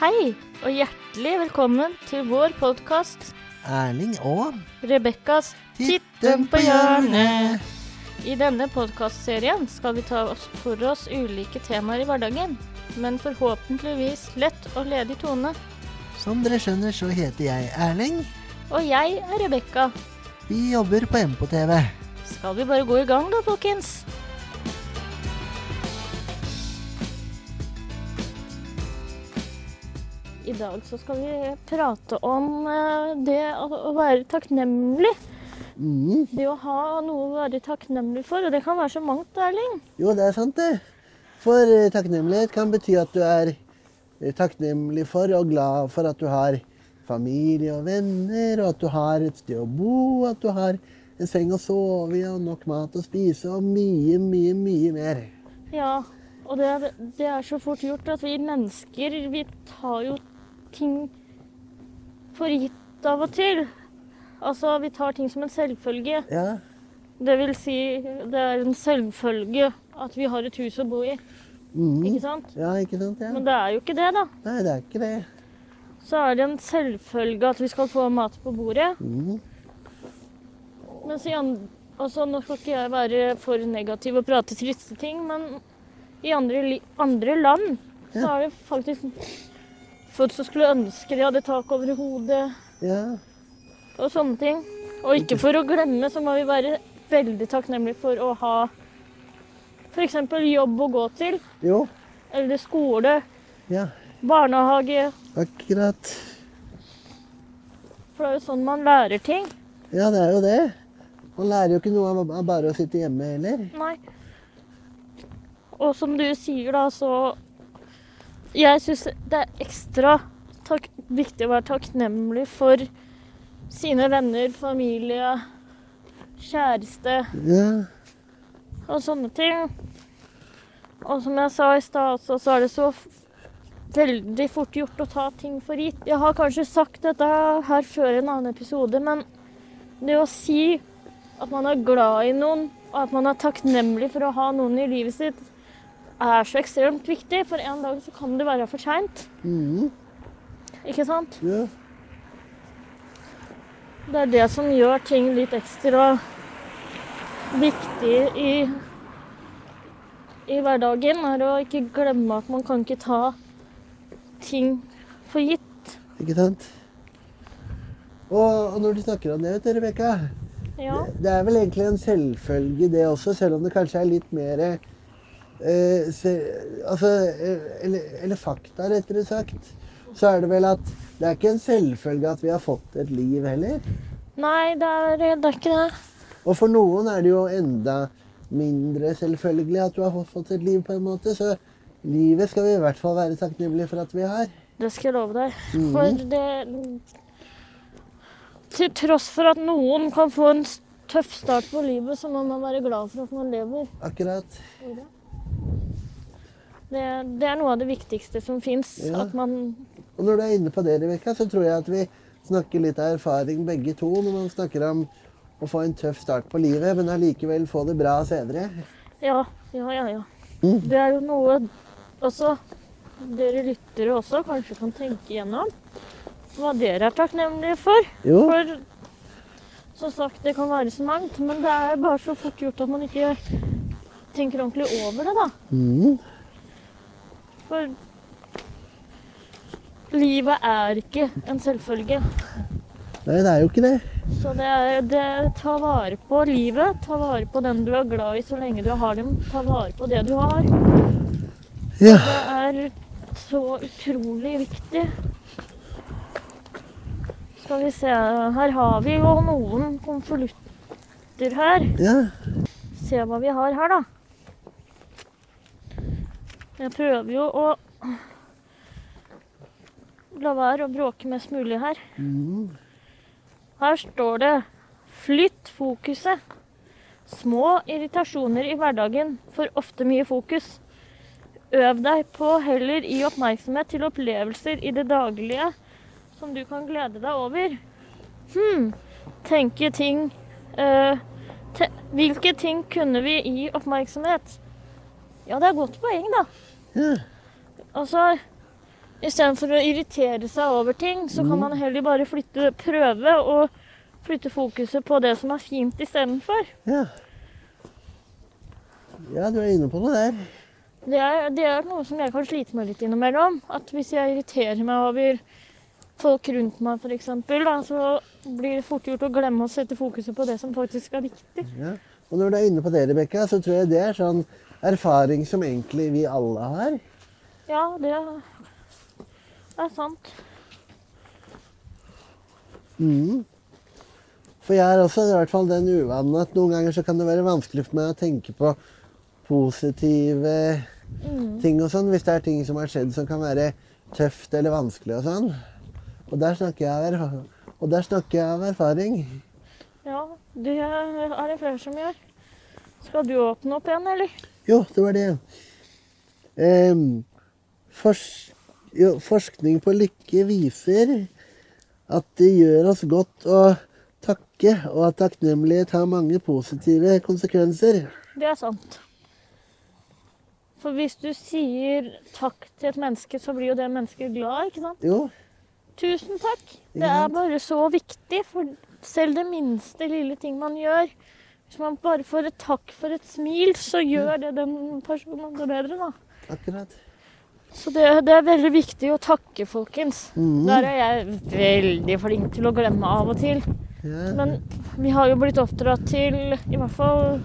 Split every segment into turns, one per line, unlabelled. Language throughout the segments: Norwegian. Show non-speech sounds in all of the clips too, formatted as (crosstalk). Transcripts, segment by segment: Hei, og hjertelig velkommen til vår podkast
Erling og
Rebekkas
Titten på hjørnet.
I denne podkastserien skal vi ta oss for oss ulike temaer i hverdagen, men forhåpentligvis lett og ledig tone.
Som dere skjønner, så heter jeg Erling.
Og jeg er Rebekka.
Vi jobber på MPTV.
Skal vi bare gå i gang da, folkens? I dag så skal vi prate om eh, det å å være takknemlig.
Mm.
Det å ha noe å være takknemlig for, og det kan være så mangt, Erling.
Jo, det er sant, det. For eh, takknemlighet kan bety at du er eh, takknemlig for og glad for at du har familie og venner, og at du har et sted å bo, og at du har en seng å sove i, og nok mat å spise, og mye, mye, mye mer.
Ja, og det er, det er så fort gjort at vi mennesker, vi tar jo ting for gitt av og til. Altså, vi tar ting som en selvfølge.
Ja,
Det vil si, det er en selvfølge at vi har et hus å bo i,
mm.
ikke sant?
ja ikke sant? Ja.
Men det er jo ikke det, da.
Nei, det er ikke det.
Så er det en selvfølge at vi skal få mat på bordet.
Mm.
Mens i an- altså, nå skal ikke jeg være for negativ og prate triste ting, men i andre, li andre land så
Ja.
er det faktisk folk som skulle ønske de hadde tak over hodet
Ja.
og sånne ting. Og ikke for å glemme, så må vi være veldig takknemlige for å ha f.eks. jobb å gå til,
Jo.
eller skole,
Ja,
barnehage.
akkurat.
For det er jo sånn man lærer ting.
Ja, det er jo det. Man lærer jo ikke noe av av bare å sitte hjemme heller.
Nei. Og som du sier, da, så Jeg syns det er ekstra takk, viktig å være takknemlig for sine venner, familie, kjæreste
Ja,
og sånne ting. Og som jeg sa i stad også, så er det så f veldig fort gjort å ta ting for gitt. Jeg har kanskje sagt dette her før i en annen episode, men det å si at man er glad i noen, og at man er takknemlig for å ha noen i livet sitt, er så ekstremt viktig, for en dag så kan det være for seint.
Mhm.
Ikke sant?
ja.
Det er det som gjør ting litt ekstra viktig i, i hverdagen, er å ikke glemme at man kan ikke ta ting for gitt.
ikke sant? Og, og når du snakker om det, vet du, Rebekka
Ja,
Det er vel egentlig en selvfølge, det også, selv om det kanskje er litt mer eh, se, Altså eh, eller, eller fakta, rettere sagt. Så er det vel at det er ikke en selvfølge at vi har fått et liv heller.
Nei, det er, det er ikke det.
Og for noen er det jo enda mindre selvfølgelig at du har fått et liv, på en måte. Så livet skal vi i hvert fall være takknemlige for at vi har.
Det skal jeg love deg.
Mhm.
For det Til tross for at noen kan få en s- tøff start på livet, så må man være glad for at man lever.
Akkurat.
Det, det er noe av det viktigste som fins.
Ja.
At man
Og når du er inne på det, Rebekka, så tror jeg at vi snakker litt av erfaring begge to når man snakker om å få en tøff start på livet, men allikevel få det bra senere.
Ja, ja, ja. ja.
Mm.
Det er jo noe også dere lyttere også kanskje kan tenke gjennom. Hva dere er takknemlige for.
Jo.
For som sagt, det kan være så mangt, men det er bare så fort gjort at man ikke tenker ordentlig over det, da.
Mm.
For livet er ikke en selvfølge.
Nei, det er jo ikke det.
Så det er det, ta vare på livet. Ta vare på den du er glad i så lenge du har dem. Ta vare på det du har.
Ja.
Det er så utrolig viktig. Skal vi se Her har vi jo noen konvolutter her.
ja.
Se hva vi har her, da. Jeg prøver jo å la være å bråke mest mulig her.
Mm.
Her står det 'Flytt fokuset'. Små irritasjoner i hverdagen får ofte mye fokus. Øv deg på heller i oppmerksomhet til opplevelser i det daglige som du kan glede deg over. Hm, tenke ting eh, te Hvilke ting kunne vi gi oppmerksomhet? Ja, det er godt poeng, da.
ja.
Altså Istedenfor å irritere seg over ting, så kan man heller bare flytte prøve og flytte fokuset på det som er fint istedenfor.
Ja. ja, du er inne på noe der.
Det er, det er noe som jeg kan slite med litt innimellom. At hvis jeg irriterer meg over folk rundt meg, f.eks., så blir det fort gjort å glemme å sette fokuset på det som faktisk er viktig.
Ja. Og når du er inne på det, Rebekka, så tror jeg det er sånn erfaring som egentlig vi alle har.
Ja, det er sant.
Mhm. For jeg er også i hvert fall den uvanen at noen ganger så kan det være vanskelig for meg å tenke på positive
Mm.
ting og sånn, hvis det er ting som har skjedd som kan være tøft eller vanskelig og sånn. Og der snakker jeg av, erf- og der snakker jeg av erfaring.
Ja, det er det flere som gjør. Skal du åpne opp igjen, eller?
Jo, det var det. Ehm, fors jo, forskning på lykke viser at det gjør oss godt å takke, og at takknemlighet har mange positive konsekvenser.
Det er sant. For hvis du sier takk til et menneske, så blir jo det mennesket glad, ikke sant?
Jo,
Tusen takk. Det
Ja.
er bare så viktig, for selv det minste lille ting man gjør Hvis man bare får et takk for et smil, så gjør det den personen det bedre, da.
akkurat.
Så det, det er veldig viktig å takke, folkens.
Mhm,
Der er jeg veldig flink til å glemme av og til.
ja.
Men vi har jo blitt oppdratt til, i hvert fall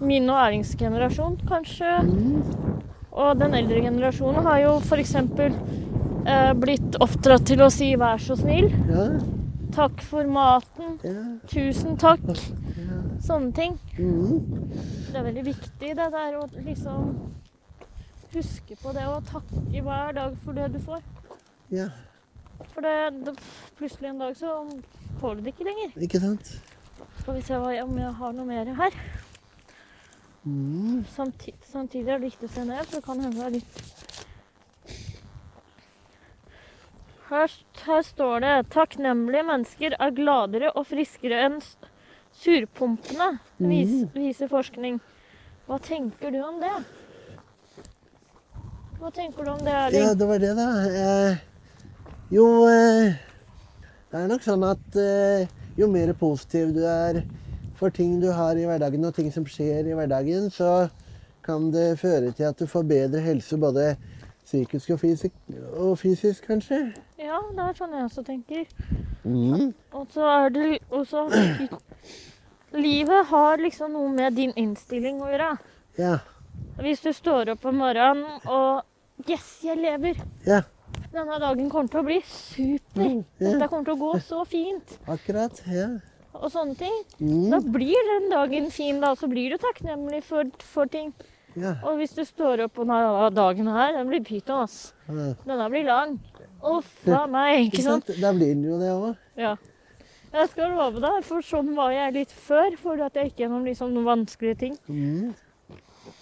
min og Ærings generasjon, kanskje.
Mhm,
Og den eldre generasjonen har jo f.eks. Eh, blitt oppdratt til å si 'vær så snill',
ja,
'takk for maten',
ja,
'tusen takk',
ja.
sånne ting.
Mhm,
Det er veldig viktig det der å liksom huske på det og takke hver dag for det du får.
ja.
For det, det, plutselig en dag så får du det ikke lenger.
Ikke sant?
Skal vi se hva jeg- om jeg har noe mer her.
Mhm,
Samtidig, samtidig er det viktig å se ned, for det kan hende det er litt her, her står det 'Takknemlige mennesker er gladere og friskere enn s- surpumpene', vis, viser forskning. Hva tenker du om det? Hva tenker du om det,
Ja,
Erling?
det var det, da. Eh, jo, eh, det er nok sånn at eh, jo mer positiv du er for ting du har i hverdagen og ting som skjer i hverdagen, så kan det føre til at du får bedre helse både psykisk og fysisk, og fysisk kanskje.
Ja, det er sånn jeg også tenker.
Mhm,
Og så er det og så, Livet har liksom noe med din innstilling å gjøre.
Ja.
Hvis du står opp om morgenen og Yes, jeg lever!
Ja.
Denne dagen kommer til å bli super.
ja
Dette kommer til å gå så fint.
akkurat. Ja.
Og sånne ting. Da
Mhm,
blir den dagen fin, da. Så blir du takknemlig for, for ting.
ja.
Og hvis du står opp og Nei, ja, dagen her, den blir pyton, ass.
ja.
Denne blir lang. Uff a meg, ikke sant?
Da blir den jo det òg.
Ja. Jeg skal love deg, for sånn var jeg litt før. For at jeg gikk gjennom liksom noen vanskelige ting.
Mhm,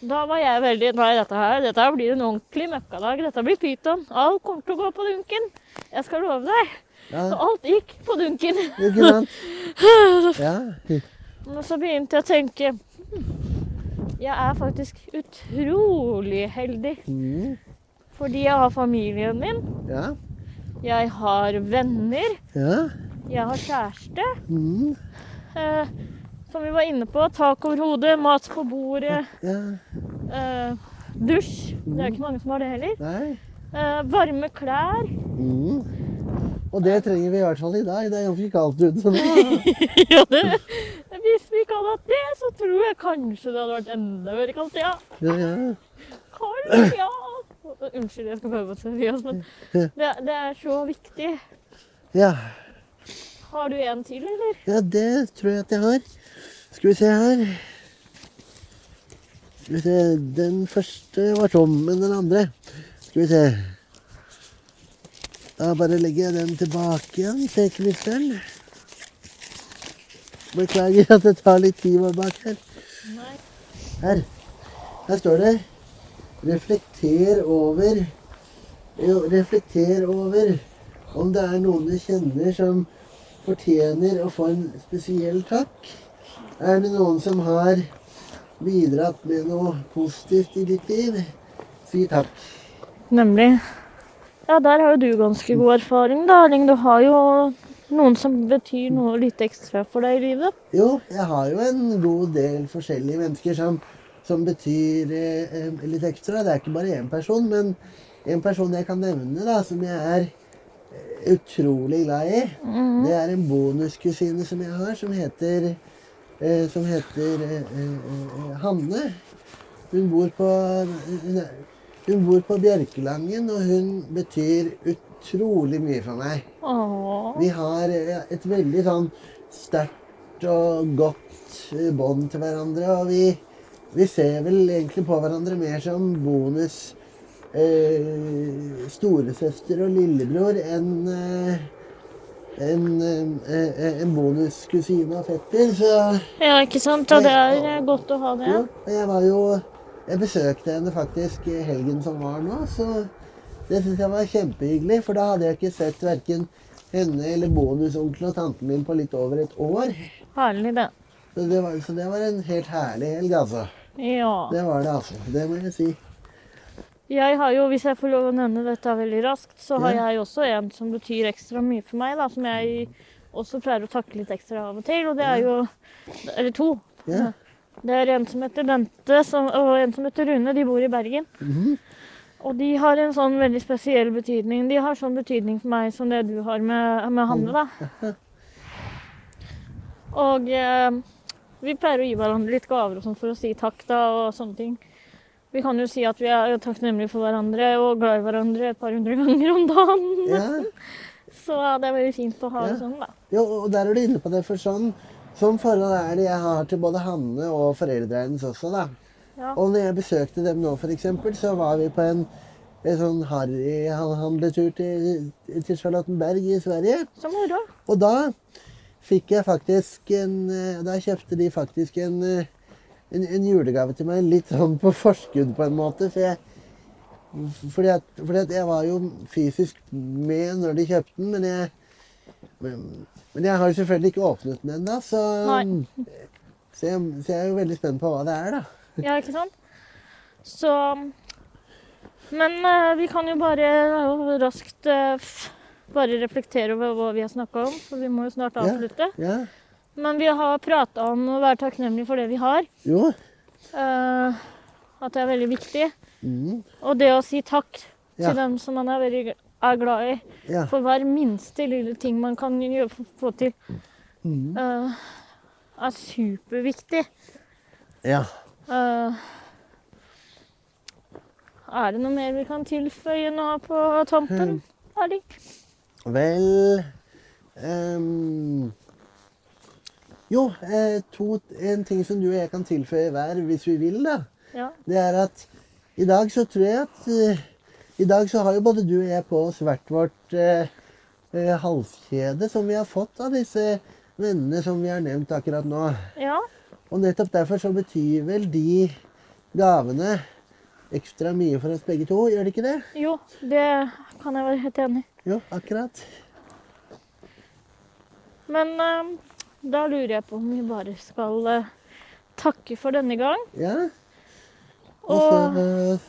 Da var jeg veldig Nei, dette her dette her blir en ordentlig møkkadag. Dette blir pyton. Alt kommer til å gå på dunken. Jeg skal love deg. Så
ja.
alt gikk på dunken.
Ikke
(laughs)
sant? Ja.
Men så begynte jeg å tenke «Hm, Jeg er faktisk utrolig heldig.
Mhm,
Fordi jeg har familien min,
ja.
jeg har venner,
Ja.
jeg har kjæreste.
Mhm,
Eh, som vi var inne på, tak over hodet, mat på bordet,
ja.
eh, dusj. Det er ikke mange som har det heller.
Nei.
Eh, varme klær.
Mm. Og det trenger vi i hvert fall i dag. Det er ganske kaldt ute. Så
(laughs)
det,
Ja, det, hvis vi ikke hadde hatt det, så tror jeg kanskje det hadde vært enda mer kaldt. Ja,
ja, ja.
kaldt, ja. Unnskyld, jeg skal prøve å være seriøs, men det, det er så viktig.
Ja.
Har du en til, eller?
ja, det tror jeg at jeg har. Skal vi se her. Skal vi se. Den første var tom, men den andre Skal vi se. Da bare legger jeg den tilbake igjen til Kristel. Beklager at det tar litt tid å være bak her.
Nei.
Her. Her står det 'reflekter over' jo, Reflekter over om det er noen du kjenner som fortjener å få en spesiell takk. Er det noen som har bidratt med noe positivt i ditt liv? Si takk.
Nemlig. Ja, der har jo du ganske god erfaring, da, Erling. Du har jo noen som betyr noe litt ekstra for deg i livet.
Jo, jeg har jo en god del forskjellige mennesker som, som betyr eh, eh, litt ekstra. Det er ikke bare én person, men en person jeg kan nevne, da, som jeg er eh, utrolig glad i,
Mm.
det er en bonuskusine som jeg har, som heter, eh, som heter eh, eh, eh, Hanne. Hun bor på eh, hun, er- hun bor på Bjerkelangen, og hun betyr utrolig mye for meg.
Åh.
Vi har eh, et veldig sånn sterkt og godt eh, bånd til hverandre. Og vi, vi ser vel egentlig på hverandre mer som bonus eh, storesøster og lillebror enn eh, en, eh, eh, en bonuskusine og fetter. Så
Ja, ikke sant? Ja, det er eh, godt å ha det.
jo, og jeg var jo Jeg besøkte henne faktisk i helgen som var nå, så det syns jeg var kjempehyggelig. For da hadde jeg ikke sett verken henne eller bonusonkelen og tanten min på litt over et år.
Herlig, det.
Så det var, så det var en helt herlig helg, altså.
Ja.
Det var det, altså. Det må jeg si.
Jeg har jo, hvis jeg får lov å nevne dette veldig raskt, så har
Ja.
jeg også en som betyr ekstra mye for meg, da, som jeg også pleier å takke litt ekstra av og til, og det er jo Eller to.
Ja.
Det er en som heter Bente, som, og en som heter Rune. De bor i Bergen.
Mhm.
Og de har en sånn veldig spesiell betydning. De har sånn betydning for meg som det du har med, med Hanne, da.
(laughs)
Og eh, vi pleier å gi hverandre litt gaver og sånn for å si takk, da, og sånne ting. Vi kan jo si at vi er takknemlige for hverandre og glad i hverandre et par hundre (laughs) ganger om dagen.
ja.
Så det er veldig fint å ha det
Ja.
sånn, da.
Jo, og der er du inne på det, for sånn som forhold er det jeg har til både Hanne og foreldra hennes også, da.
Ja.
Og når jeg besøkte dem nå, f.eks., så var vi på en, en sånn harryhandletur til, til Charlottenberg i Sverige.
Så moro.
Og da fikk jeg faktisk en eh, Da kjøpte de faktisk en, eh, en, en julegave til meg litt sånn på forskudd, på en måte. For jeg, fordi, at, fordi at jeg var jo fysisk med når de kjøpte den, men jeg men, men jeg har jo selvfølgelig ikke åpnet den ennå, så,
Nei.
så, jeg, så jeg er jo veldig spent på hva det er, da.
Ja, ikke sant? Så Men eh, vi kan jo bare eh, raskt eh, f- bare reflektere over hva vi har snakka om, for vi må jo snart avslutte.
Ja.
Men vi har prata om å være takknemlig for det vi har.
Jo.
eh, at det er veldig viktig.
Mm.
Og det å si takk
Ja.
til dem som man er veldig gl- er glad i.
Ja.
For hver minste lille ting man kan gjøre for få til,
Mm.
eh, er superviktig.
ja.
Eh, er det noe mer vi kan tilføye nå på tampen? Erling?
Vel ehm, Jo, eh, to, en ting som du og jeg kan tilføye hver hvis vi vil, da.
Ja.
Det er at i dag så tror jeg at eh, I dag så har jo både du og jeg på oss hvert vårt eh, eh, halskjede som vi har fått av disse vennene som vi har nevnt akkurat nå.
ja.
Og nettopp derfor så betyr vel de gavene ekstra mye for oss begge to, gjør det ikke det?
Jo, det kan jeg være helt enig i.
Jo, akkurat.
Men eh, da lurer jeg på om vi bare skal eh, takke for denne gang.
Ja. Og
Og
så, eh,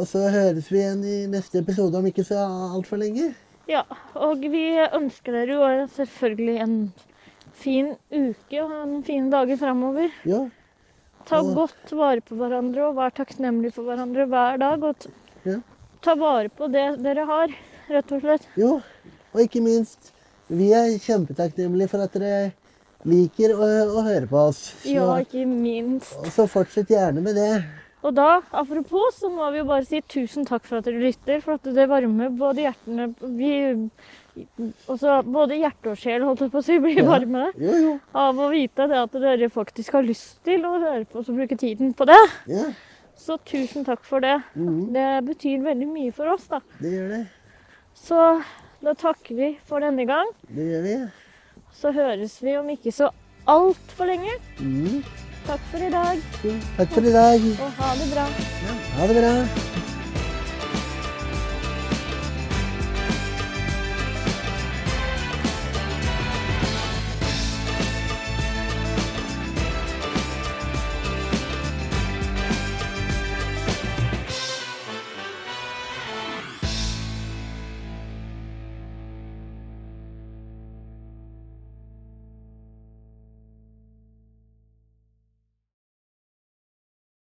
og så høres vi igjen i neste episode om ikke så altfor lenge.
ja, og vi ønsker dere jo selvfølgelig en fin uke og noen fine dager framover.
Jo,
Ta
Og-
godt vare på hverandre og vær takknemlig for hverandre hver dag. Og t-
Ja.
ta vare på det dere har, rett og slett.
jo. Og ikke minst, vi er kjempetakknemlige for at dere liker å, å høre på oss. Så,
Ja, ikke minst.
og så fortsett gjerne med det.
Og da, apropos, så må vi jo bare si tusen takk for at dere lytter, for at det varmer både hjertene vi, også, Både hjerte og sjel, holdt jeg på å si, blir
Ja.
varme
Jo, jo.
av å vite det at dere faktisk har lyst til å høre på oss og bruke tiden på det.
Ja,
Så tusen takk for det.
Mhm.
Det betyr veldig mye for oss, da.
det gjør det.
Så da takker vi for denne gang.
Det gjør vi.
Så høres vi om ikke så altfor lenge.
Mhm.
Takk for i dag,
Takk for i dag.
og ha det bra.
Ha det bra.